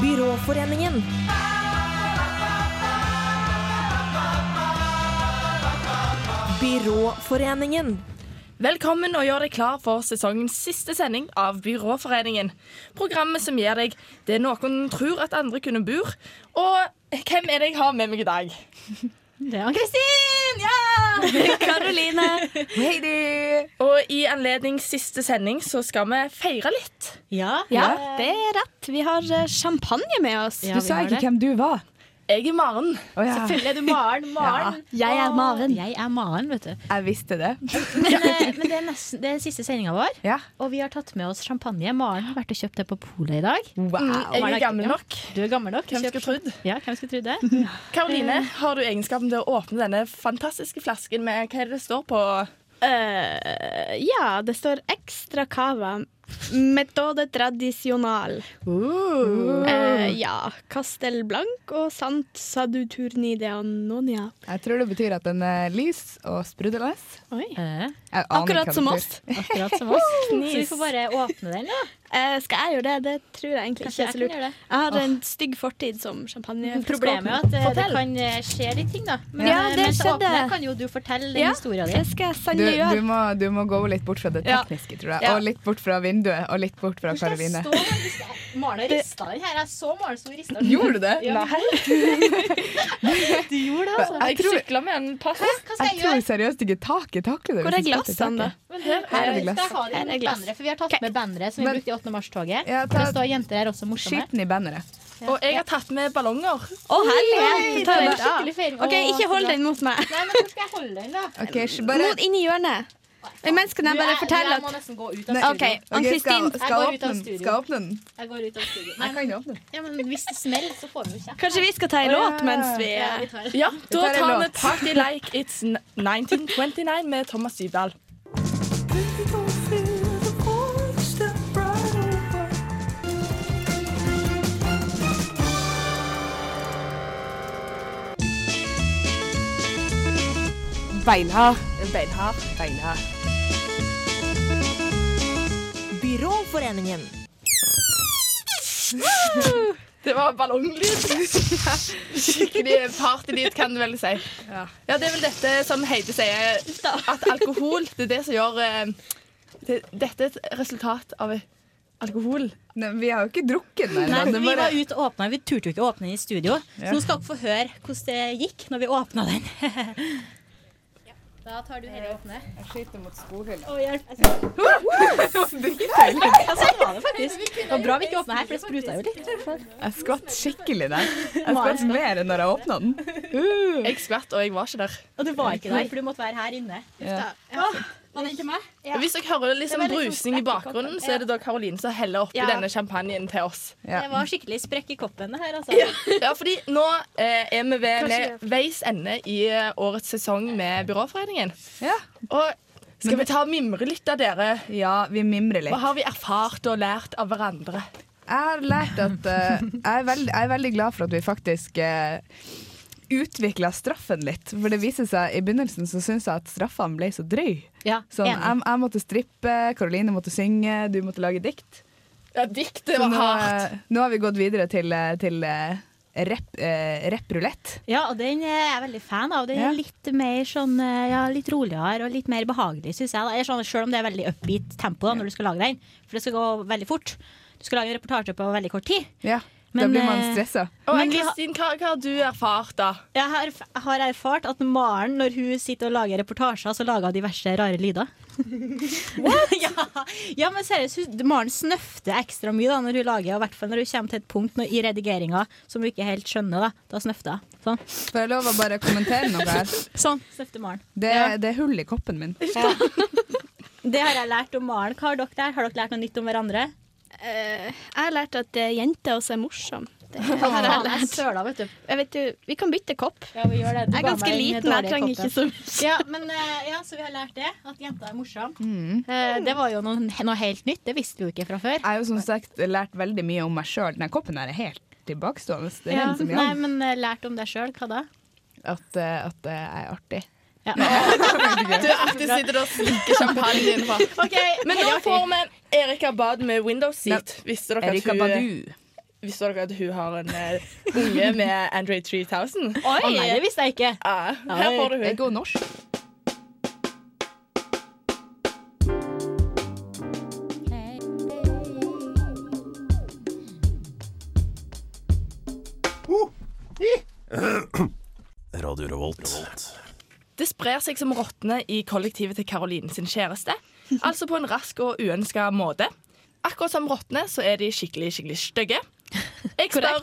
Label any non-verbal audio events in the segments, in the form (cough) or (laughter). Blåforeningen. Byråforeningen. Velkommen og gjør deg klar for sesongens siste sending av Byråforeningen. Programmet som gir deg det noen tror at andre kunne bur. Og hvem er det jeg har med meg i dag? Det er Kristin! Ja! Karoline. Og i anledning siste sending så skal vi feire litt. Ja, det er rett. Vi har eh, champagne med oss. Du sa ikke hvem du var. Jeg er Maren. Å ja, Selvfølgelig er du Maren. Maren. Jeg er Maren. Jeg er Maren, vet du. jeg visste det. Men, eh, men det er, nesten, det er siste sendinga vår, Ja. og vi har tatt med oss champagne. Maren har vært og kjøpt det på polet i dag. Wow. Jeg er gammel nok. Du er gammel nok. Hvem skulle trodd? Ja, hvem skulle trodd det? Karoline, har du egenskapen til å åpne denne fantastiske flasken med hva er det det står på? Eh, ja, det står ekstra cava. Metode tradisjonal. Eh, ja. Castel Blanc og Sant Saduturni de Anonia. Jeg tror det betyr at den er lys og sprudlende. Eh, Jeg aner ikke hva Akkurat som det oss. betyr. akkurat som oss. Så vi får bare åpne den, da. Eh, skal jeg gjøre det? Det tror jeg egentlig ikke Kanskje er jeg så kan lurt. gjøre det. Jeg har en stygg fortid som champagne. Problemet er at eh, det kan eh, skje litt ting, da. Men, Ja, eh, det mens jeg skjedde. åpner, kan jo du fortelle den Ja. historien Det din. skal jeg Du, sannelig du, gjøre. må, du må gå litt bort fra det Ja. tekniske, tror jeg. Ja. Og litt bort fra vinduet, og litt bort fra Skal jeg Karoline. stå faktisk? Jeg- Maren har rista den her. Jeg så Maren sto og rista den. Gjorde du det? Ja. (laughs) Du gjorde det, altså. Jeg Jeg tror, sykler med en pass. Hva skal jeg jeg gjøre? tror seriøst ikke taket takler det. Hvor hvis er jeg setter glassene, da? taket. Men her Her er Der det glass. har vi Her er med glass. banneret, for vi har tatt med banneret som vi Men- brukte i 8. mars-toget. Ja, ta- Det står jenter her også morsomme. Skyt den i banneret. Og jeg har tatt med ballonger. Å, herlighet! Ta Det den var av. skikkelig feiring. OK, ikke hold den mot meg. Nei, men hvor skal jeg holde den, da? Ok, sk- bare, Mot inn i hjørnet. Men mens kan jeg Du, bare fortelle Jeg må at nesten gå ut av Nei, studio. OK, Ok, Ann-Kristin. skal, går ut skal, av åpne den. studio. skal åpne den. Jeg går ut av studio. Jeg Nei, kan åpne den. ja, men hvis det smeller, så får vi jo kjeft. Kanskje vi skal ta en Å, ja. låt mens vi Ja, vi tar det. Ja, da tar en tar vi låt. Party Like It's 1929 med Thomas Dybdahl. Beinhard. Beinhard. Beinhard. Byråforeningen. Det var ballonglyd. Skikkelig partylyd, kan du vel si. Ja. det er vel dette som Heidi sier, at alkohol det er det som gjør eh, det, Dette er et resultat av alkohol. Nei, vi har jo ikke drukket den. Nei, ennå, for det vi bare- var ute og åpna. Vi turte jo ikke å åpne den i studio. Så nå skal dere få høre hvordan det gikk når vi åpna (laughs) den. Da tar du dette og åpner. Jeg skyter mot sporhylla. Å, hjelp. Jeg skal- Ja, sånn var det faktisk. Det var bra vi ikke åpna her, for det spruta jo litt. Jeg skvatt skikkelig (laughs) der. Jeg skvatt mer enn når jeg åpna den. Uh. Jeg skvatt, og jeg var ikke der. Og du var ikke der, for du måtte være her inne. Var det ikke meg? Hvis dere hører litt sånn Det var litt sånn brusing i sprekk i bakgrunnen, så er det da Karoline som heller oppi Ja. denne champagnen til oss. Ja. Det var skikkelig sprekk i koppen det her, altså. Ja, fordi nå eh, er vi ved Kanskje ved veis ende i eh, årets sesong med Byråforeningen. Ja. Og skal vi ta og mimre litt av dere? ja, vi mimrer Hva litt. har vi erfart og lært av hverandre? Jeg har lært at eh, jeg, er veldig, jeg er veldig glad for at vi faktisk uh, utvikla straffen litt. For det viser seg i begynnelsen så syns jeg at straffene ble så drøy. Ja, Sånn, enig. jeg, jeg måtte strippe, Karoline måtte synge, du måtte lage dikt. Ja, diktet Så var nå, hardt. eh, nå har vi gått videre til, eh, til eh, rep, eh, rep-rulett. Ja, og den eh, er jeg veldig fan av. Den Ja. er litt mer sånn eh, ja, litt roligere og litt mer behagelig, syns jeg. da. Eller sånn, selv om det er veldig upbeat tempo da, når du skal lage den, for det skal gå veldig fort. Du skal lage en reportasje på veldig kort tid. ja. Da Men, blir man eh, stressa. Og Men vi har- Kristin, hva, hva har du erfart, da? Jeg har, jeg har erfart at Maren, når hun sitter og lager reportasjer, så lager hun diverse rare (laughs) lyder. (laughs) ja, ja, men seriøst, hun- Maren snøfter ekstra mye da når hun lager, og i hvert fall når hun kommer til et punkt når, i redigeringa som hun ikke helt skjønner. Da da snøfter hun. Sånn. Får jeg lov å bare kommentere noe (laughs) her? sånn snøfter Maren. Det, Ja. det er hull i koppen min. Det har jeg lært om Maren. Hva har dere der? Har dere lært noe nytt om hverandre? Eh, Jeg har lært at eh, jenter også er morsomme. Faen, jeg søla, vet du. Jeg vet jo, vi kan bytte kopp. Ja, vi gjør det. Du Jeg er ga ganske meg den liten, jeg dårlige trenger koppen. ikke så mye. Ja, men eh, ja, så vi har lært det. At jenter er morsomme. Mm. Det var jo noe, noe helt nytt. Det visste vi jo ikke fra før. Jeg har jo som sagt lært veldig mye om meg sjøl. Denne koppen her er helt tilbakestående. Det er Ja. den som Nei, gjør men eh, lært om deg sjøl. Hva da? at, eh, at eh, jeg er artig. Ja. Du er alltid sitter og slikker champagne innenfor. Ok, Men nå får vi Erika Bad med Windows Seat. Visste dere at Erika hun Badu. Visste dere at hun har en eh, unge med Andre 3000? Oi! nei, det visste jeg ikke. Ja, her får du Det er hun. god norsk. Radio Revolt. Det sprer seg som rottene i kollektivet til Caroline sin kjæreste. Altså på en rask og uønska måte. Akkurat som rottene, så er de skikkelig, skikkelig stygge. Jeg spør,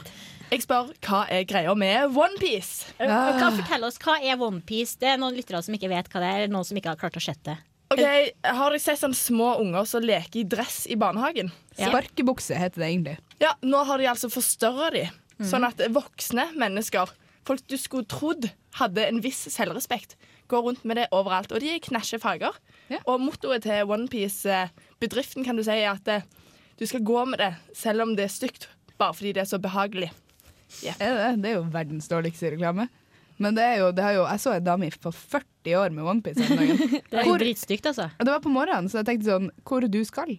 jeg spør hva er greia med OnePiece? Og Eh, Hva, fortell oss, hva er OnePiece? Det er noen lyttere som ikke vet hva det er. eller Noen som ikke har klart å sette det. Okay, har dere sett sånne små unger som leker i dress i barnehagen? Sparkebukse heter det egentlig. Ja, Nå har de altså forstørra de, sånn at voksne mennesker, folk du skulle trodd hadde en viss selvrespekt, går rundt med det overalt. Og de er knæsje farger. Ja. Og mottoet til OnePiece-bedriften kan du si er at eh, du skal gå med det selv om det er stygt, bare fordi det er så behagelig. Er det, det? det er jo verdens dårligste reklame. Men det er jo, det har jo, jeg så en dame i for 40 år med OnePiece om (laughs) dagen. Det er jo Hvor- dritstygt, altså. Og det var på morgenen, så jeg tenkte sånn Hvor du skal?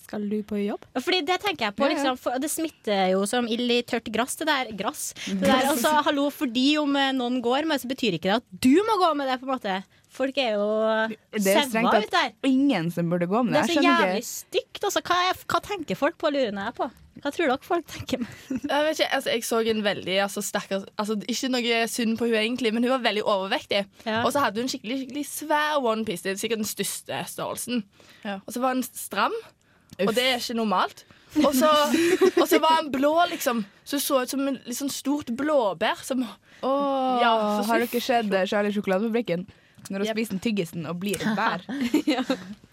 Skal du på jobb? Fordi det tenker jeg på, Ja, ja. liksom, for det smitter jo som ild i tørt gress, det der. Grass. Det der, altså, hallo, fordi om eh, noen går med det, så betyr ikke det at du må gå med det, på en måte. Folk er jo Det er strengt saua ut tatt der. ingen som burde gå med Det det. er så Jeg skjønner jævlig ikke stygt. Altså, hva, er, hva tenker folk på, lurer jeg på. Hva tror dere folk tenker? med- Jeg vet ikke, altså jeg så en veldig altså, stakkars altså, Ikke noe synd på hun egentlig, men hun var veldig overvektig. Ja. Og så hadde hun skikkelig, skikkelig svær onepiece. Det er sikkert den største størrelsen. Ja. Og så var han stram, og det er ikke normalt. Og så, og så var han blå, liksom. Så hun så ut som et liksom, stort blåbær. Som, Åh, Ja, så Har sykt. dere sett eh, Charlie Sjokoladefabrikken? Når hun Jep. spiser den tyggisen og blir et bær. Jeg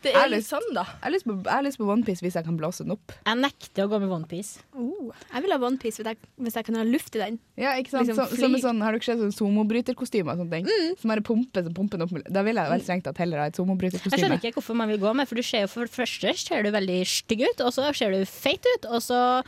det Jeg er har litt lyst- sånn, da. har lyst på, jeg har lyst på OnePiece hvis jeg kan blåse den opp. Jeg nekter å gå med OnePiece. Oh, jeg ville ha OnePiece hvis, jeg- hvis jeg kunne ha luft i den. Ja, ikke sant? Liksom Så, som en fly. sånn, har dere sett sånn somobryterkostyme og sånne ting? Mm. Som bare pumper, så pumper den opp. med- Da vil jeg vel strengt tatt heller ha et Jeg skjønner somobryterkostyme. ikke hvorfor man vil gå med, for du ser jo for det første ser du veldig stygg ut, og så ser du feit ut, og så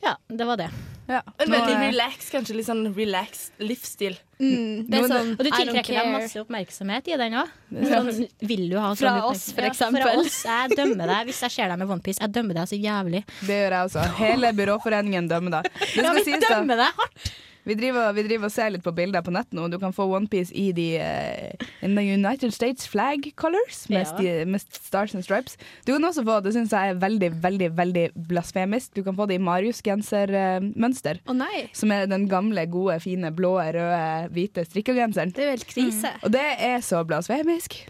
Ja, det var det. Ja. En Nå, veldig eh, relax, kanskje litt sånn relaxed livsstil. Mm, det er Nå, det- sånn, Og du I don't tiltrekker deg care. masse oppmerksomhet i den òg. Sånn, vil du ha Fra sånn oss, for oppmerksomhet? eksempel. Ja, fra oss. Jeg dømmer deg hvis jeg ser deg med OnePiece. Jeg dømmer deg så jævlig. Det gjør jeg også. Hele byråforeningen (laughs) dømmer da. Det skal Ja, vi sies da. dømmer deg hardt! Vi driver, vi driver og ser litt på bilder på nett nå. Du kan få OnePiece i de eh, in the United States flag colors med, Ja. sti, med stars and stripes. Du kan også få, det syns jeg er veldig, veldig veldig blasfemisk, du kan få det i eh, Marius-gensermønster. Å nei, Som er den gamle, gode, fine, blå, røde, hvite strikkegenseren. det er jo helt krise. Og det er så blasfemisk.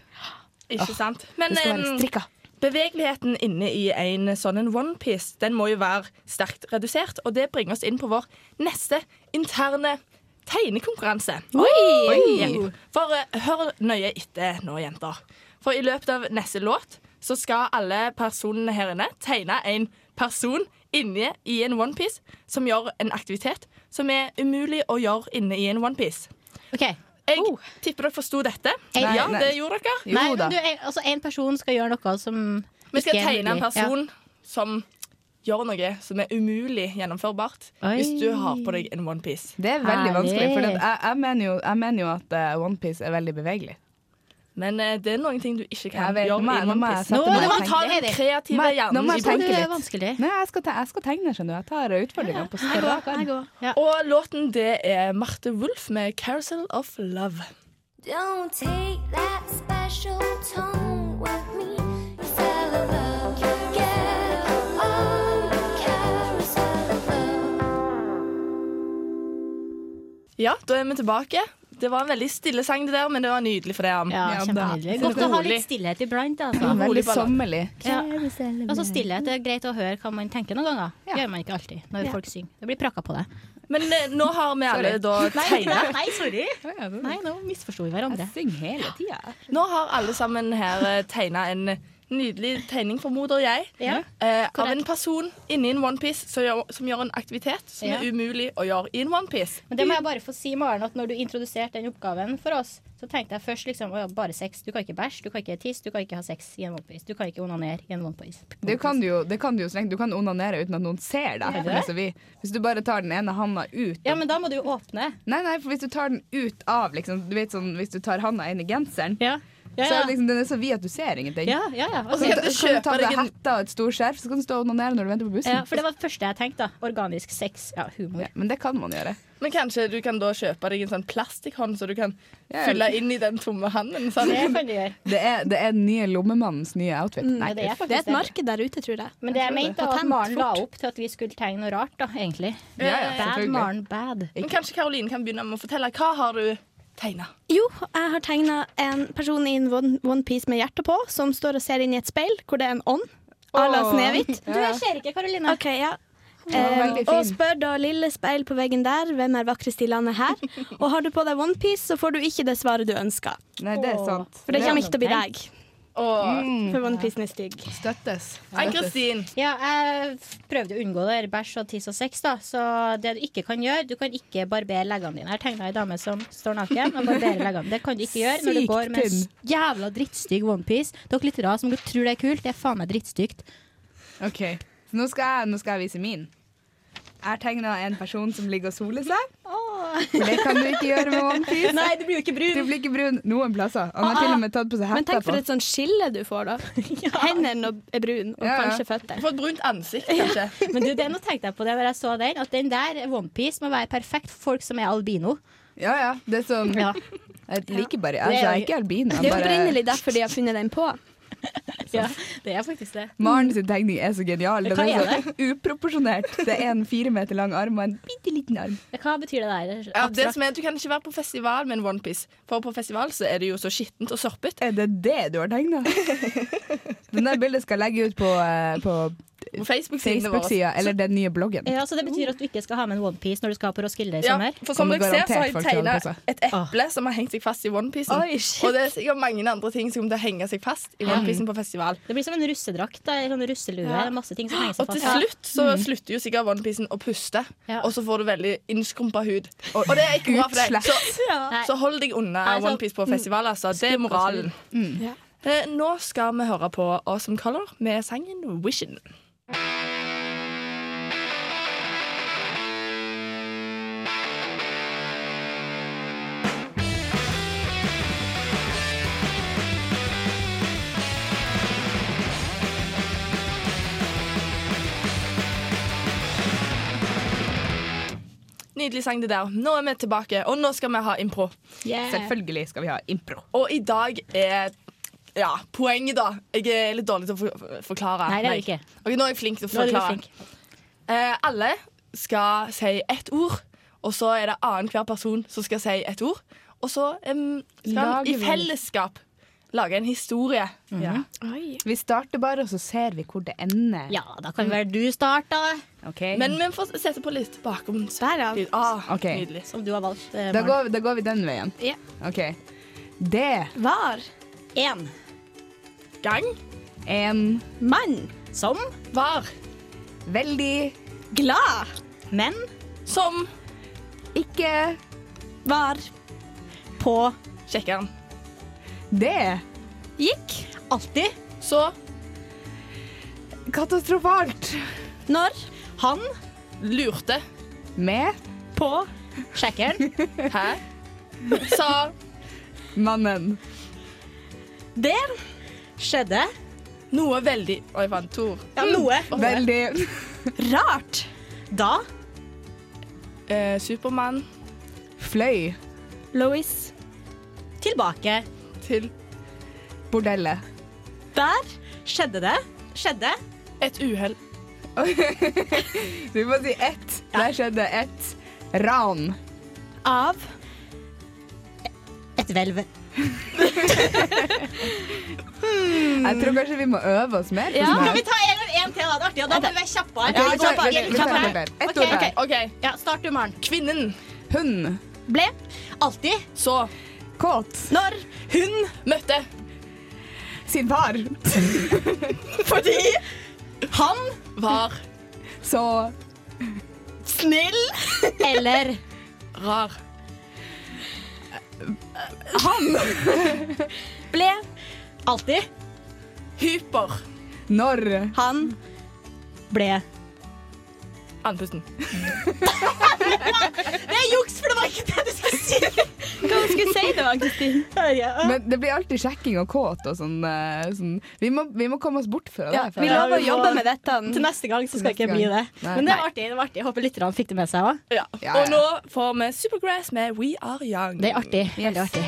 Ikke sant? Men um, Det skal være em, strikka. Bevegeligheten inne i en sånn en onepiece Den må jo være sterkt redusert, og det bringer oss inn på vår neste interne tegnekonkurranse. Jepp. For eh, hør nøye etter nå, jenter. For i løpet av neste låt så skal alle personene her inne tegne en person inne i en onepiece som gjør en aktivitet som er umulig å gjøre inne i en onepiece. OK. Jeg tipper dere forsto dette. Nei, ja, Oh. nei. det gjorde dere. Jo Nei, men da. du, en, altså, en person skal gjøre noe som Vi skal ikke er tegne en mulig. Ja. person som gjør noe som er umulig gjennomførbart Oi. hvis du har på deg en onepiece. Det er veldig Herlig. vanskelig, for at jeg, jeg, mener jo, jeg mener jo at eh, OnePiece er veldig bevegelig. Men eh, det er noen ting du ikke kan Jeg vet, gjøre nå må i jeg- en nå må jeg onepiece. sette Nå meg må og man ta tenke. den kreative Nei, nå hjernen må i jeg bruk. tenke. Det er litt. vanskelig. Nei, jeg skal, te jeg skal tegne, skjønner du. Jeg tar utfordringa på Jeg større går, jeg går. Og låten det er Marte Wolff med 'Carousel of Love'. Don't take that special tone with me. You fell in love, get on the carousel of love. Ja, da er vi tilbake. Det var en veldig stille sang, det der, men det var nydelig for det. Am. Ja, Ja, da. kjempehydelig. Så Godt å ha rolig. litt stillhet iblant. Altså. Veldig Rolig ballad. sommerlig. Ja. Altså, stillhet det er greit å høre hva man tenker noen ganger. Det gjør man ikke alltid når folk synger. Det blir prakka på deg. Men eh, nå har vi alle da tegna. (laughs) Nei, sorry. Jeg Nei, nå misforsto vi hverandre. synger hele tida. Nå har alle sammen her tegna en nydelig tegning, formoder jeg. Ja. Eh, av en person inni en onepiece som, gjør- som gjør en aktivitet som Ja. er umulig å gjøre i en onepiece. Men det må jeg bare få si, Maren, at når du introduserte den oppgaven for oss, så tenkte jeg først liksom å ja, bare sex. Du kan ikke bæsje, du kan ikke tisse, du kan ikke ha sex i en onepiece. Du kan ikke onanere i en onepiece. Det kan du jo, det kan du jo strengt. Du kan onanere uten at noen ser deg. Ja. for det som vi- Hvis du bare tar den ene handa ut Ja, men da må du jo åpne. Nei, nei, for hvis du tar den ut av liksom, du vet sånn, Hvis du tar handa inn i genseren, Ja. Ja, Så ja. er det liksom, den er så vid at du ser ingenting. Ja, ja, ja. Så Altså, kan du da- kan du ta kjøpe på deg deg en- hetta og et stort skjerf, så kan du stå og onanere når du venter på bussen. ja, for det var det første jeg tenkte. da Organisk sex. Ja, humor. Ja, men det kan man gjøre. Men kanskje du kan da kjøpe deg en sånn plastikkhånd, så du kan Ja, fylle inn i den tomme handen. Sånn. Det kan du gjøre. Det er, det er den nye lommemannens nye outfit. Ja, det er Det er faktisk et marked der ute, tror jeg. Men det jeg mente, var at Patent Maren la fort. opp til at vi skulle tegne noe rart, da, egentlig. Ja, ja, Bad selvfølgelig. Maren, bad. Men kanskje Karoline kan begynne med å fortelle hva har du tegna. Jo, jeg har tegna en person i en one- onepiece med hjerte på, som står og ser inn i et speil hvor det er en ånd. À la Åh. Snehvit. Du, jeg ser ikke, Karoline. OK, (laughs) ja. var Eh, veldig fin. og spør da lille speil på veggen der hvem er vakrest i landet (laughs) her. Og har du på deg onepiece, så får du ikke det svaret du ønsker. Nei, det er sant. For det kommer ikke til å bli deg, Og Mm. for onepiecen er stygg. Støttes. Ann-Kristin, Ja, jeg prøvde å unngå det her bæsj og tiss og sex, da. Så det du ikke kan gjøre, du kan ikke barbere leggene dine. Jeg tegna ei dame som står naken og barberer leggene. Det kan du ikke gjøre når du Sykt går med en tynn. jævla drittstygg onepiece. Dere lyttere som tror det er kult, det er faen meg drittstygt. Ok, så nå skal jeg, nå skal jeg vise min. Jeg har tegna en person som ligger og soler seg. Det kan du ikke gjøre med OnePiece. Nei, du blir jo ikke Du brun. blir ikke brun noen plasser. Han har til og med tatt på seg Ah, Men hetta. tenk på. for et sånt skille du (laughs) får, da. Hendene og- er brune, og Ja, ja. kanskje føtter. få et brunt ansikt, kanskje. Men du, det nå tenkte jeg på det når jeg så den, at den der onepiece må være perfekt for folk som er albino. Ja, ja. Det er sånn Ja. Jeg liker bare altså, Jeg er ikke albino. Det jeg er Bare, opprinnelig derfor de har funnet den på. ja, det er faktisk det. Maren sin tegning er så genial. Den Hva er er så uproporsjonert. Det er en fire meter lang arm og en bitte liten arm. Hva betyr det der? Ja, det Abstrakt? som er, du kan ikke være på festival med en onepiece, for på festival så er det jo så skittent og sorpete. Er det det du har tegna? Det der bildet skal jeg legge ut på, eh, på På Facebook-sidene våre. Facebook-sida eller den nye bloggen. Ja, så det betyr at du ikke skal ha med en onepiece når du skal på Roskilde i Ja, sommer? for som Kommer dere ser, så har garantert jeg folk til å tegna holde på seg. et eple som har hengt seg fast i onepiecen. Oi, shit. Og det er sikkert mange andre ting som kommer til å henge seg fast i onepiecen på festival. Det blir som en russedrakt da, eller sånn russelue. Ja. eller Masse ting som henger Og seg til fast. slutt så slutter jo sikkert onepiecen å puste, Ja. og så får du veldig innskrumpa hud. Og det er ikke bra for deg. Så, Nei. så hold deg unna Nei, så- onepiece på festival, altså. Det er moralen. Ja. Eh, Nå skal vi høre på Awesome Color med sangen Wishin'. Nydelig sang det der. Nå er vi tilbake, og nå skal vi ha impro. Selvfølgelig skal vi ha impro. Og i dag er ja, poenget, da. Jeg er litt dårlig til å for- forklare. Nei, det er du ikke. Ok, nå er jeg flink til å Nå er du forklare. flink. Eh, alle skal si ett ord, og så er det annenhver person som skal si ett ord. Og så em, skal Lager vi i vi- fellesskap lage en historie. Mhm. Ja. Vi starter bare, og så ser vi hvor det ender. Ja, da kan vel du starte, da. Ok. Men vi får sette på litt bakom. Derav. Ah, Ok. Nydelig. Som du har valgt. Eh, da, går, vi- da går vi den veien. Ja. Ok. Det Var Én Gang en mann som var veldig glad? menn som ikke Var på Sjekker den. det gikk alltid Så katastrofalt når han lurte. med på (laughs) sjekkeren. Hæ? (laughs) Sa mannen. Det skjedde noe veldig Oi, jeg fant to ord. ja, noe Veldig rart. Da Eh, Supermann fløy Louis tilbake. til bordellet. Der skjedde det. Skjedde. et uhell. Du må si ett. Der skjedde ett ran. av Et hvelv. Jeg tror kanskje vi må øve oss mer. på sånn her. Kan vi ta en, en til? da? Det er artig, og da blir vi kjappere. Ok, vi tar- kjappere, vi- vi tar kjappere. et ord Ok, der. Et ord der. ok. OK. Ja, start du, Maren. Kvinnen. Hund. Ble alltid Så Kåt. når hun møtte Sin far. Fordi han var Så snill Eller rar. ble (laughs) alltid Hyper. når Han ble andpusten. Det er juks, for det var ikke det du skulle si! Hva skulle jeg si det, var, Kristin? Ja. Men det blir alltid sjekking og kåt og sånn. eh, sånn. Vi, må, vi må komme oss bort fra det. for- Vi lover å jobbe med dette. Til neste gang så skal jeg ikke bli det. Nei. Men det var artig. det var artig. Jeg håper lytterne fikk det med seg òg. Ja. Ja, Og ja. nå får vi Supergrass med We Are Young. Det er artig. Veldig artig.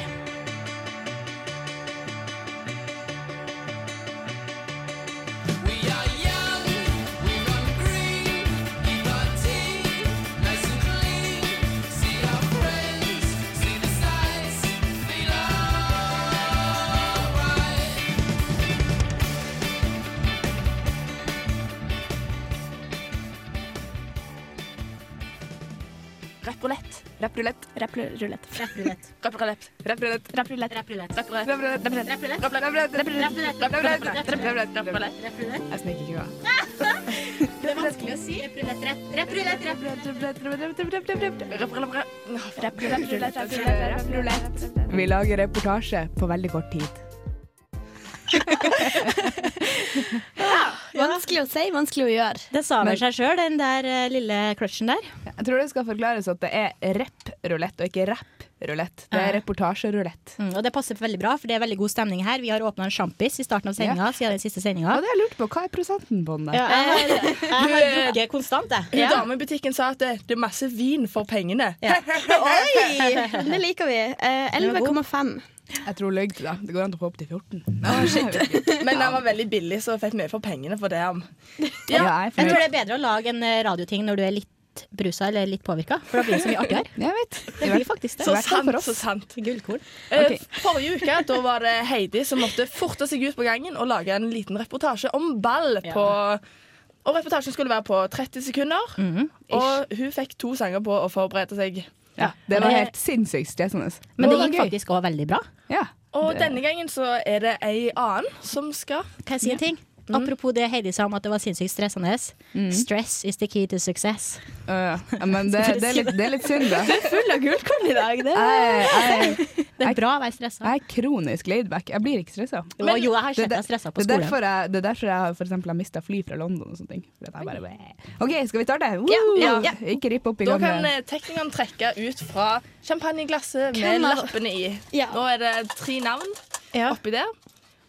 Rett rulett. Rapprulett. Rapprulett. Rappelett. Rett rulett. Rapprulett. Rappelett. Rapprulett. Rett rulett. Rappelett. Rapprulett. Rapprulett. Rapprulett. Rapprulett. Rapprulett. Rapprulett. Rappelett. Rappelett. Jeg snek ikke av. Det er vanskelig å si. Rappelett. Rappelett. Rappelett. Vi lager reportasje på veldig kort tid. Vanskelig å si, vanskelig å gjøre. Det sa Men- vel seg sjøl, den der eh, lille clutchen der. Jeg tror det skal forklares at det er rep-rulett og ikke rapp-rulett. Det er Ja. reportasjerulett. Mm, og det passer veldig bra, for det er veldig god stemning her. Vi har åpna en sjampis i starten av sendinga, siden den siste sendinga. Og det jeg lurte på, hva er prosenten på den der? Ja, jeg har, jeg har drukket konstant, jeg. Hun dame i butikken sa at det, det er masse vin for pengene. Oi! (laughs) Det liker vi. Eh, 11,5. Jeg tror løy til deg. Det går an å få opp til 14. (laughs) Men den var veldig billig, så jeg fikk mye for pengene for det. Ja, jeg er Jeg tror fornøyd. det er bedre å lage en eh, radioting når du er litt brusa eller litt påvirka, for da blir det så mye artigere. Jeg vet. Det blir faktisk Så det. hvert fall sant, for oss. så sant. Gullkorn. Eh, Ok. Forrige uke da var det Heidi som måtte forte seg ut på gangen og lage en liten reportasje om ball. På, og reportasjen skulle være på 30 sekunder. og hun fikk to sanger på å forberede seg. Ja, det var helt sinnssykt stressende. Men det var gikk gøy. faktisk òg veldig bra. Ja. Og Det- denne gangen så er det ei annen som skal Kan jeg si en ting? Apropos det Heidi sa om at det var sinnssykt stressende. Stress is the key to success. Øh, ja, men det, det, er litt, det er litt synd, (laughs) da. Full av gullkorn i dag. Det. Jeg, jeg, Det er bra å være stressa. jeg er kronisk laidback. Jeg blir ikke stressa. Å, jo, jeg har sett deg stressa på det er skolen. derfor jeg, det er derfor jeg har- for eksempel har mista fly fra London og sånne ting. For at jeg bare, OK, skal vi starte? Woo! Ja, ja. Ikke ripp opp i Da kan gamle eh, teknikeren trekke ut fra champagneglasset med Hvem er- lappene i. Ja. Nå er det tre navn Ja. oppi der.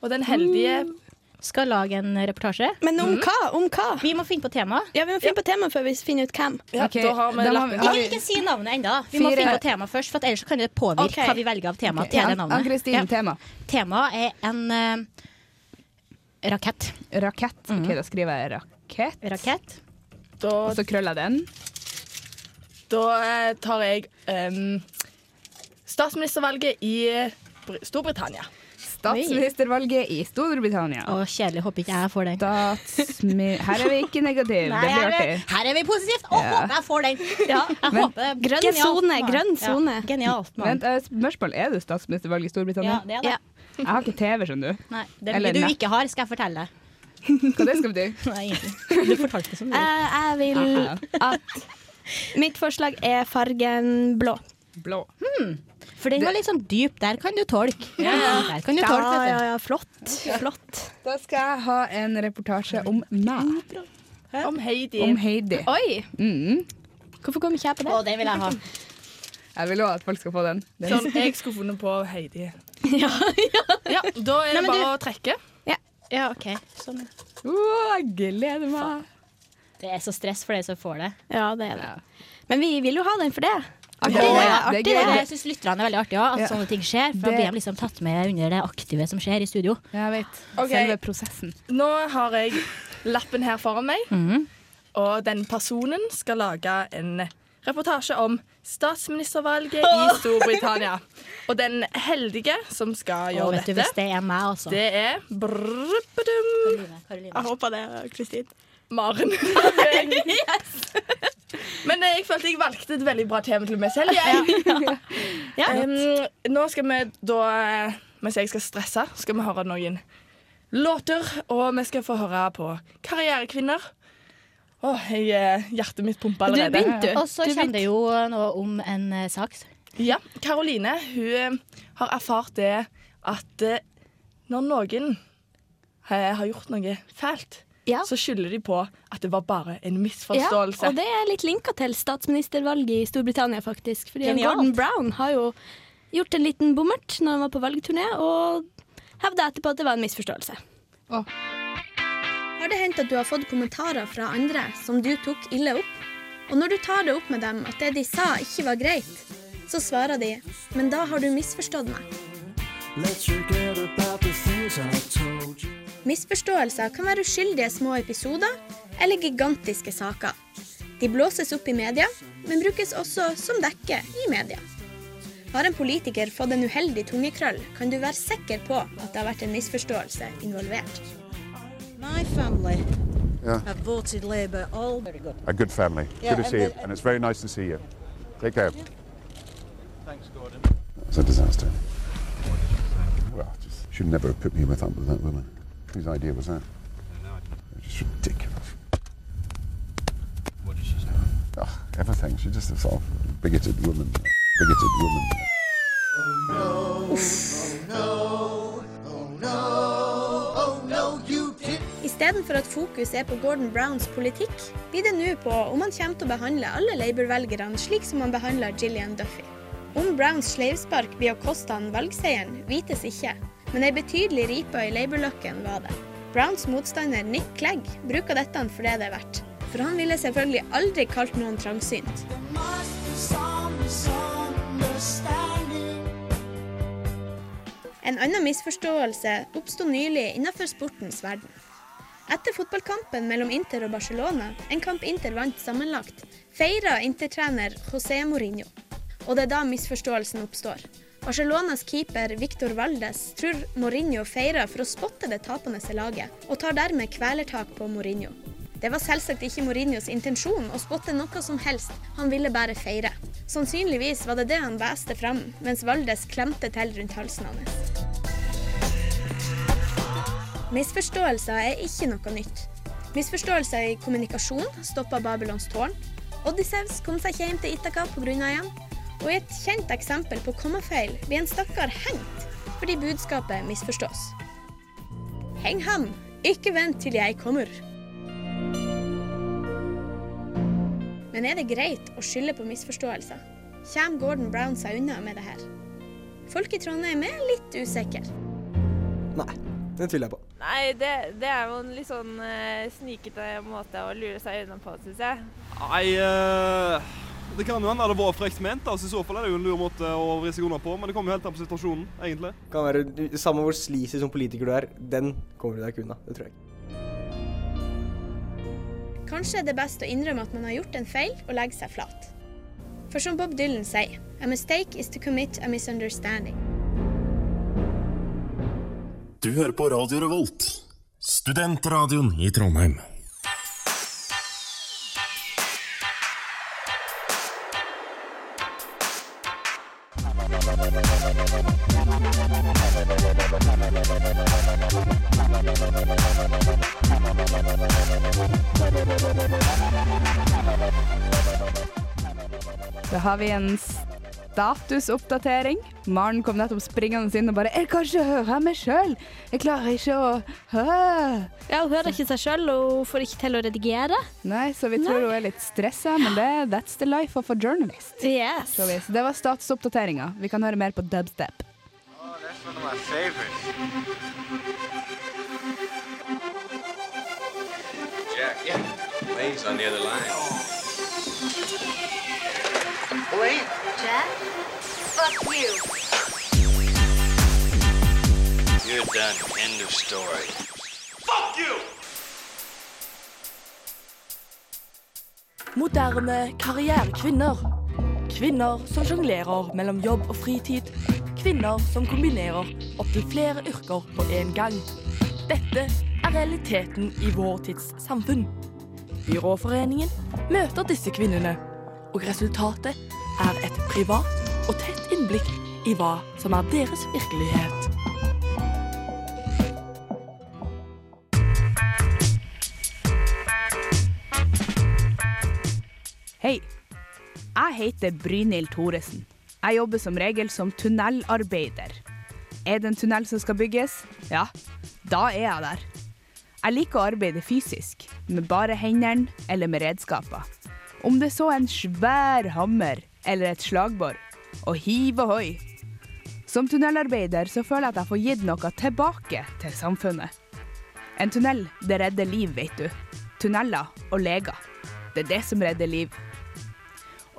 Og den heldige Skal lage en reportasje. Men om hva? Om hva? Vi må finne på tema. Mm. Ja, vi må finne på tema før vi finner ut hvem. ja, Ok, Da har vi da må- lappen. har Ikke, ikke si navnet ennå. Vi må Fire- finne på tema først, for at ellers så kan det påvirke Ok. hva vi velger av tema. til det navnet. Ann-Kristin, Ja. tema. Temaet er en eh, rakett. Rakett. OK, da skriver jeg rakett. Mhm. Rakett. Da, Og så krøller jeg den. da eh, tar jeg em, statsministervalget i Br- Storbritannia. Statsministervalget i Storbritannia. Å, kjedelig. Håper ikke jeg får den. (laughs) Statsmi... Her er vi ikke negative. Nei, det blir her, er, artig. her er vi positivt! Å, håper jeg får den! jeg Men- håper det. Grønn Genialt, sone, mann. grønn sone. Ja, genialt, mann. Vent, eh, spørsmål. Er du statsministervalg i Storbritannia? Ja, det er det. Ja. Jeg har ikke TV, skjønner du. Nei, det er Eller mye du nei. ikke har, skal jeg fortelle deg. Hva det skal bety? Nei, egentlig. Du fortalte så mye. Eh, jeg vil at Mitt forslag er fargen blå. Blå. For den var litt sånn dyp. Der kan du tolke. Der kan du tolke, vet du. ja, flott. Flott. Da skal jeg ha en reportasje om meg. Om Heidi. Om Heidi. Oi! Mm. Hvorfor kom ikke jeg på det? Å, den vil jeg ha. Jeg vil også at folk skal få den. den. Sånn, (laughs) jeg skulle funnet på Heidi. Ja, Da er det Nei, men bare å trekke. Ja, OK. Sånn. Åh, jeg gleder meg. Det er så stress for de som får det. Ja, det er det. Men vi vil jo ha den for det. Artig, Ja, det. ja, Artig, det er det. gøy. Jeg syns lytterne er veldig artige også, at Ja. sånne ting skjer. For da Det- blir de liksom tatt med under det aktive som skjer i studio. Jeg vet. Ok. Selve prosessen. Nå har jeg lappen her foran meg, Mhm. og den personen skal lage en reportasje om statsministervalget i Storbritannia. Og den heldige som skal Og gjøre vet du, hvis dette, det er meg, altså. det er brrrr-badum, Karoline. håper det, Kristin. Maren. (laughs) Men eh, jeg følte jeg valgte et veldig bra tema til meg selv. Jeg. (laughs) Em, nå skal vi da eh, Mens jeg skal stresse, skal vi høre noen låter. Og vi skal få høre på Karrierekvinner. Å, jeg, eh, hjertet mitt pumper Du allerede. begynte, du. Og så kjenner det jo noe om en eh, sak. Ja, Karoline hun eh, har erfart det at eh, når noen eh, har gjort noe fælt, Ja. så skylder de på at det var bare en Ja, misforståelse. og det er litt linka til statsministervalget i Storbritannia, faktisk. Fordi han Genialt. Gordon Brown har jo gjort en liten bommert når han var på valgturné, og hevda etterpå at det var en misforståelse. Å. Har det hendt at du har fått kommentarer fra andre som du tok ille opp? Og når du tar det opp med dem at det de sa ikke var greit, så svarer de men da har du misforstått meg. Misforståelser kan være uskyldige små episoder eller gigantiske saker. De blåses opp i media, men brukes også som dekke i media. Har en politiker fått en uheldig tungekrøll, kan du være sikker på at det har vært en misforståelse involvert. My family Yeah. have voted Labour all very good. A good family. Yeah, good and to see the- you. And it's very nice to see you. Take care. Thanks, Gordon. It's a disaster. Well, just should never have put me with up with that woman. Whose idea was that? It's just ridiculous. What did she say? Ugh, everything. She's just a sort of bigoted woman. Bigoted woman. Istedenfor at fokus er på Gordon Browns politikk, blir det nå på om han kommer til å behandle alle Labour-velgerne slik som han behandler Gillian Duffy. Om Browns sleivspark blir å koste han valgseieren, vites ikke, men ei betydelig ripe i Labour-løkken var det. Browns motstander Nick Clegg bruker dette for det det er verdt, for han ville selvfølgelig aldri kalt noen trangsynt. En annen misforståelse oppsto nylig innenfor sportens verden. Etter fotballkampen mellom Inter og Barcelona, en kamp Inter vant sammenlagt, feira Inter-trener José Mourinho. Og det er da misforståelsen oppstår. Barcelonas keeper Victor Valdes tror Mourinho feirer for å spotte det tapende laget, og tar dermed kvelertak på Mourinho. Det var selvsagt ikke Mourinhos intensjon å spotte noe som helst, han ville bare feire. Sannsynligvis var det det han veste fram, mens Valdes klemte til rundt halsen hans. Misforståelser er ikke noe nytt. Misforståelser i kommunikasjon stoppa Babylons tårn. Odyssevs kom seg ikke hjem til Itaka pga. igjen. Og i et kjent eksempel på kommafeil blir en stakkar hengt fordi budskapet misforstås. Heng ham, ikke vent til jeg kommer. Men er det greit å skylde på misforståelser? Kjem Gordon Brown seg unna med det her? Folk i Trondheim er litt usikre. Den tviler jeg på. Nei, det, det er jo en litt sånn eh, snikete måte å lure seg unna på, syns jeg. Nei, eh, det kan jo hende det var frekt ment. altså I så fall er det jo en lur måte å vri seg unna på, men det kommer jo helt an på situasjonen, egentlig. Kan være, du- Samme hvor sleazy som politiker du er, den kommer du deg ikke unna. Det tror jeg. (laughs) Kanskje er det best å innrømme at man har gjort en feil og legge seg flat. For som Bob Dylan sier, a mistake is to commit a misunderstanding. Du hører på Radio Revolt, studentradioen i Trondheim. Da har vi en statusoppdatering. Maren kom nettopp springende inn og bare 'Jeg kan ikke høre meg sjøl! Jeg klarer ikke å høre'. Ja, Hun hører ikke seg sjøl, og hun får ikke til å redigere. Nei, så vi tror hun er litt stressa, men det, that's the life of a journalist. Yes. Så vi- så det var statusoppdateringa. Vi kan høre mer på dubstep. That's one of my favorites. Jack, yeah. Wayne's on the other line. Wait. Jack? Fuck you. You're done. End of story. Fuck you! Moderne karrierekvinner. Kvinner som sjonglerer mellom jobb og fritid. Kvinner som kombinerer opptil flere yrker på én gang. Dette er realiteten i vår tids samfunn. Byråforeningen møter disse kvinnene, og resultatet er et privat og tett innblikk i hva som er deres virkelighet. Hei. Jeg heter Brynhild Thoresen. Jeg jobber som regel som tunnelarbeider. Er det en tunnel som skal bygges? Ja, da er jeg der. Jeg liker å arbeide fysisk, med bare hendene eller med redskaper. Om det så er en svær hammer eller et slagbor, og hiv ohoi. Som tunnelarbeider så føler jeg at jeg får gitt noe tilbake til samfunnet. En tunnel, det redder liv, vet du. Tunneler og leger. Det er det som redder liv.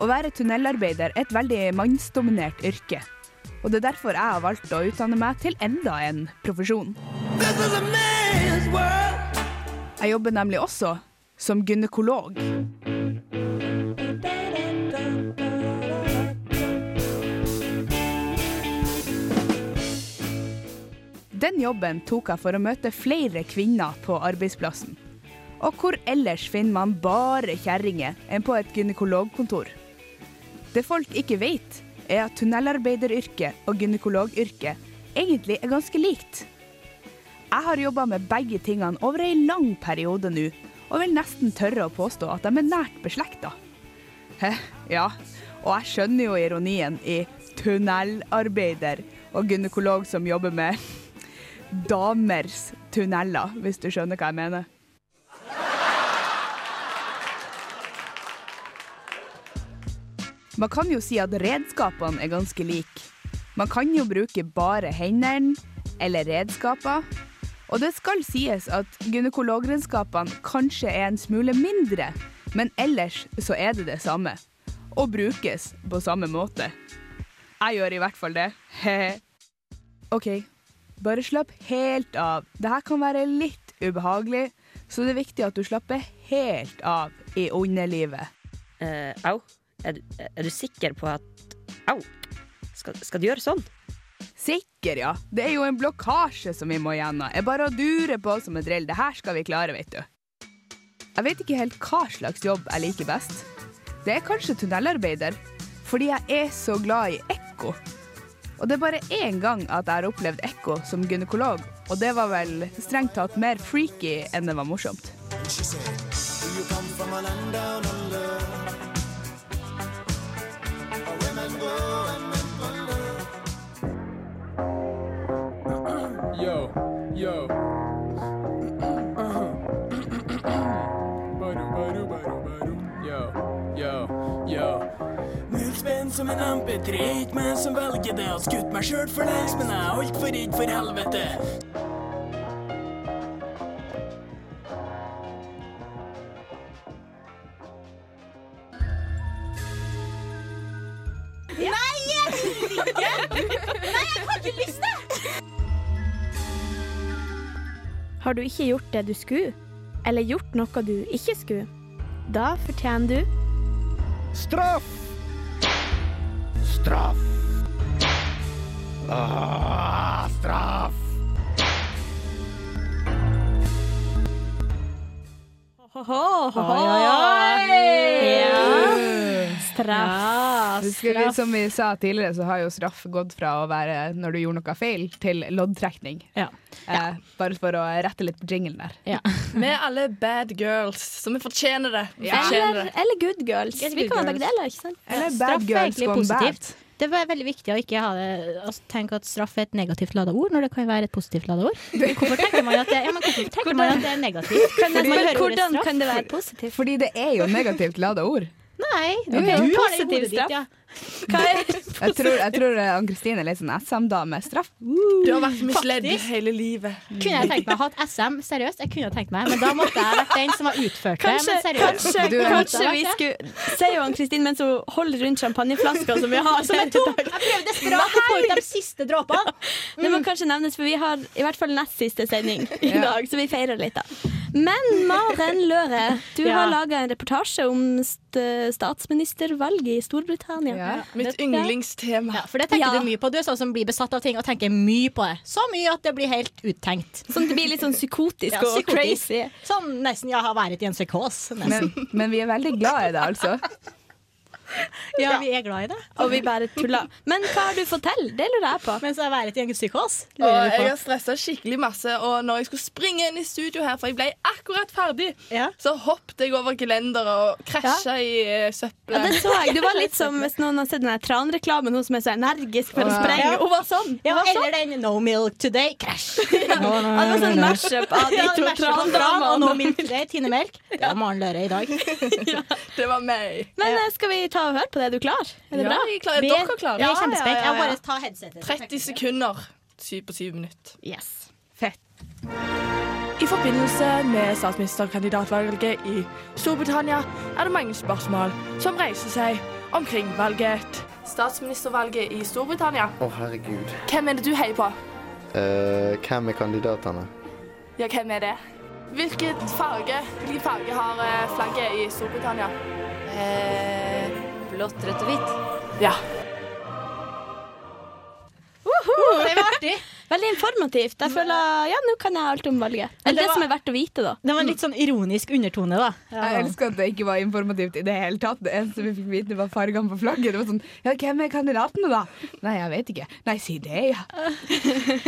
Å være tunnelarbeider er et veldig mannsdominert yrke. Og det er derfor jeg har valgt å utdanne meg til enda en profesjon. Jeg jobber nemlig også som gynekolog. Den jobben tok jeg for å møte flere kvinner på arbeidsplassen. Og hvor ellers finner man bare kjerringer enn på et gynekologkontor? Det folk ikke vet, er at tunnelarbeideryrket og gynekologyrket egentlig er ganske likt. Jeg har jobba med begge tingene over ei lang periode nå, og vil nesten tørre å påstå at de er nært beslekta. Hæ, ja. Og jeg skjønner jo ironien i tunnelarbeider og gynekolog som jobber med damers tunneler, hvis du skjønner hva jeg mener. Man kan jo si at redskapene er ganske like. Man kan jo bruke bare hendene eller redskaper. Og det skal sies at gynekologredskapene kanskje er en smule mindre, men ellers så er det det samme. Og brukes på samme måte. Jeg gjør i hvert fall det. (laughs) OK, bare slapp helt av. Dette kan være litt ubehagelig, så det er viktig at du slapper helt av i underlivet. Eh, au. Er, du- er du sikker på at Au! Skal, skal du gjøre sånn? Sikker, ja. Det er jo en blokkasje som vi må gjennom. Jeg bare durer på som en drill. Det her skal vi klare, vet du. Jeg vet ikke helt hva slags jobb jeg liker best. Det er kanskje tunnelarbeider, fordi jeg er så glad i ekko. Og det er bare én gang at jeg har opplevd ekko som gynekolog, og det var vel strengt tatt mer freaky enn det var morsomt. Yo, yo. Baru, baru, baru, baru. Yo, yo, yo. Nullspenn som en MP3-hit, men som velger det. Har skutt meg sjøl for lengst, men jeg er altfor redd for helvete. Nei, jeg vil ikke! Nei, jeg har ikke lyst til det! Har du ikke gjort det du skulle, eller gjort noe du ikke skulle, da fortjener du Straff! Straff! Ah, straff! Ja, Straff. Husker vi, som vi sa tidligere, så har jo straff gått fra å være når du gjorde noe feil, til loddtrekning. Eh, bare for å rette litt på jinglen der. Vi er alle bad girls, så vi fortjener det. Vi fortjener eller, det. eller good girls. Eller Vi good kan ha begge girls. deler, ikke sant? Ja, straff er egentlig positivt. Det var veldig viktig å ikke ha det, altså, tenke at straff er et negativt lada ord, når det kan være et positivt lada ord. Hvorfor tenker man at det, ja, men hvorfor tenker man at det er negativt? Kan det- Når man hører ordet hvordan straff? kan det være (laughs) positivt? Fordi det er jo negativt lada (laughs) ord. Nei, det Jo, jo. du har det i hodet ditt, ja. Jeg tror, jeg tror eh, Ann-Kristin er litt sånn SM-dame. Straff. Du har vært misledd Faktisk. hele livet. Kunne jeg tenkt meg å ha et SM, seriøst, jeg kunne tenkt meg, men da måtte jeg vært den som har utført det. Kanskje, men seriøst. kanskje, kanskje vi skulle Se jo Ann-Kristin mens hun holder rundt champagneflaska som vi har (laughs) som er tom. Jeg prøver desperat å få ut de siste dråpene. Det må kanskje nevnes, for vi har i hvert fall nest siste (laughs) sending i Ja. dag, så vi feirer litt, da. Men Maren Løre, du Ja. har laga en reportasje om st statsministervalget i Storbritannia. Mitt yndlingstema. for det tenker du mye på. Du er sånn som blir besatt av ting og tenker mye på det. Så mye at det blir helt uttenkt. Sånn at det blir litt sånn psykotisk og crazy. Sånn nesten jeg har vært i en psykos. Men, Nesten. men vi er veldig glad i det, altså. Ja, vi er glad i det. Og vi bare tuller. Men hva har du fått til? Det lurer jeg på. Mens jeg været i en psykos. Og jeg har stressa skikkelig masse. Og når jeg skulle springe inn i studio her, for jeg ble akkurat ferdig, så hoppet jeg over gelenderet og krasja i eh, søpla. Ja, det så jeg. Du var litt som hvis noen har sett den der tranreklamen, hun som er så energisk for å Ja. sprenge. Ja. Hun var sånn. Ja, eller den No milk today, crash. Ja, det var sånn mashup (laughs) av de Ja, to mashup av tran-dramaene. og No milk today, Tine Melk. Det var Maren Løre i dag. Det var meg. Men eh, skal vi ta og høre på det? Er du klar? Er det Ja, bra? jeg er klar. Er Vi- dere klare? Ja, ja, ja, ja. ta headsetet. 30 sekunder. Syv på syv minutter. Yes. Fett. I forbindelse med statsministerkandidatvalget i Storbritannia er det mange spørsmål som reiser seg omkring valget. Statsministervalget i Storbritannia. Å, herregud. Hvem er det du heier på? Eh, hvem er kandidatene? Ja, hvem er det? Hvilken farge, hvilken farge har eh, flagget i Storbritannia? Eh, blått, rødt og hvitt. Ja. Det var artig. Veldig informativt. Jeg føler ja, nå kan jeg alt om valget. Eller det, som er verdt å vite, da. Det var en litt sånn ironisk undertone, da. Jeg elsker at det ikke var informativt i det hele tatt. Det eneste vi fikk vite, var fargene på flagget. Det var sånn Ja, hvem er kandidatene, da? Nei, jeg vet ikke. Nei, si det, ja. (laughs) Det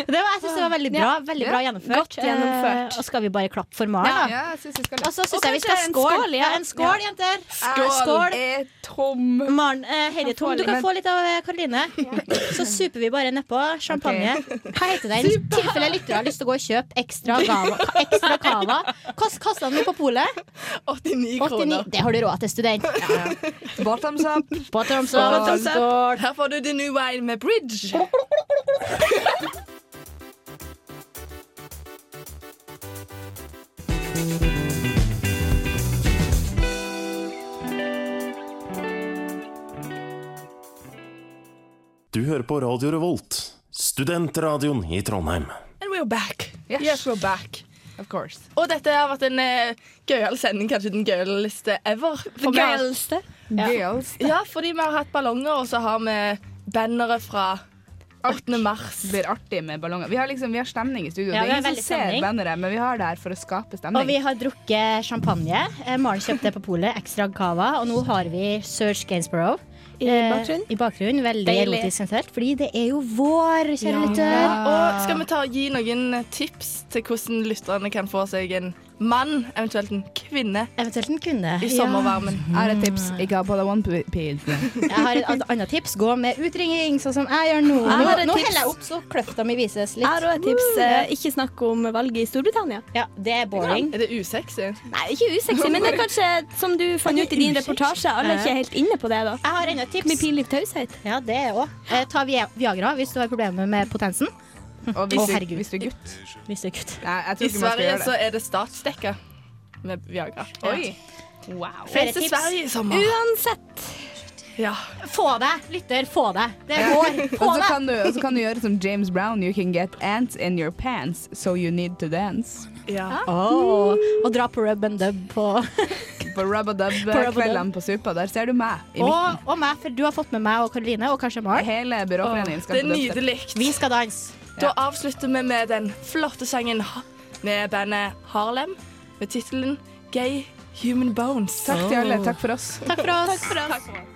var, jeg synes det var veldig bra, Ja. veldig Ja. bra gjennomført. Godt gjennomført. Eh, og skal vi bare klappe for Maren, da? jeg synes vi skal det. Og så syns jeg vi skal skåle. skål, ja. en skål, jenter. Skål. Er tom. Maren, eh, Heidi er tom. Du kan Men- få litt av eh, Karoline. Så super vi bare nedpå. Champagne. Hva heter den? I tilfelle lyttere har lyst til å gå og kjøpe ekstra gava. Ekstra cava. Kost kasta den på polet. 89 kroner. Det har du råd til, student. Bottoms up. Bottoms Så, up. Skål. Her får du The New Wine med Bridge. Du hører på Radio Revolt, studentradioen i Trondheim. And we're back. Yes. we're back. Of course. Og dette har vært en eh, gøyal sending, kanskje den gøyaleste ever. For vi har- Gøyalste. Ja. Gøyalste. Ja, fordi vi har hatt ballonger, og så har vi bannere fra 8. mars. Det blir artig med ballonger. Vi har, liksom, vi har stemning i studio. Ja, det vi er har ingen som veldig ser stemning. banneret, men vi har det her for å skape stemning. Og vi har drukket champagne. Eh, Maren kjøpte på polet ekstra cava, og nå har vi Serge Gainsborough. I eh, bakgrunnen. I bakgrunnen, Veldig Deilig. erotisk sensuelt, fordi det er jo vår, kjære lytter. Og skal vi ta, gi noen tips til hvordan lytterne kan få seg en mann, eventuelt en kvinne, Eventuelt en kvinne i sommervarmen? Jeg har et tips. Ikke ha på deg onepiece. Jeg har et an- annet tips. Gå med utringning, sånn som jeg gjør nå. Jeg Nå, har et nå tips. heller jeg opp, så kløfta mi vises litt. Jeg har også et tips. Eh, Ikke snakk om valget i Storbritannia. Ja, det er Mm. boring. Er det usexy? Nei, ikke usexy, men det (laughs) er kanskje som du fant ut i din reportasje. Alle er ikke helt inne på det, da. Jeg har enda et tips. Med pinlig taushet. Ja, det er også. Eh, ta Vi- Viagra hvis du har problemer med potensen. Og Å, hvis, du, herregud. hvis du er gutt. Hvis du er gutt. Nei, I jeg tror ikke man skal Sverige så gjøre det. er det statsdekka med Viagra. Ja. Wow. Flere til Sverige i sommer. Uansett. Ja. Få det, lytter. Få det. Det Ja. går. Få (laughs) Og så det. kan, du, og så kan du gjøre som James Brown. You can get ants in your pants, so you need to dance. Ja. Å, og dra på rub and dub på På Rub-a-Dub-kveldene på Suppa, der ser du meg i midten. og, og meg, for du har fått med meg og Karoline og kanskje Maren. Hele byråforeningen skal Det er på dubstep. nydelig. Vi skal danse. Da avslutter vi med den flotte sangen ha- med bandet Harlem med tittelen Gay Human Bones. Takk til alle. Takk for oss. Takk for oss. Takk for oss.